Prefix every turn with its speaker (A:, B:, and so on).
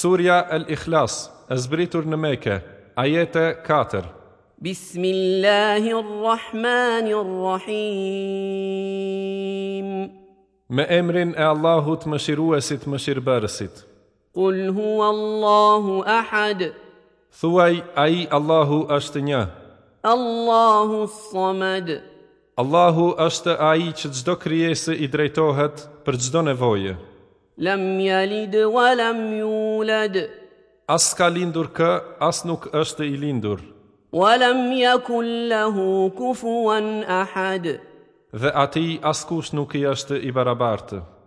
A: Surja El Ikhlas, e zbritur në Mekë, ajete 4.
B: بسم الله الرحمن الرحيم
A: Me emrin e Allahut më shiruesit më shirëbërësit.
B: قل هو الله احد
A: Thuaj, a i Allahu është një.
B: الله الصمد
A: Allahu është a i që gjdo kryese i drejtohet për gjdo nevoje.
B: لم يلد ولم يولد
A: As ka lindur kë, as nuk është i lindur.
B: ولم يكن له كفوا احد
A: Dhe ati askush nuk i është i barabartë.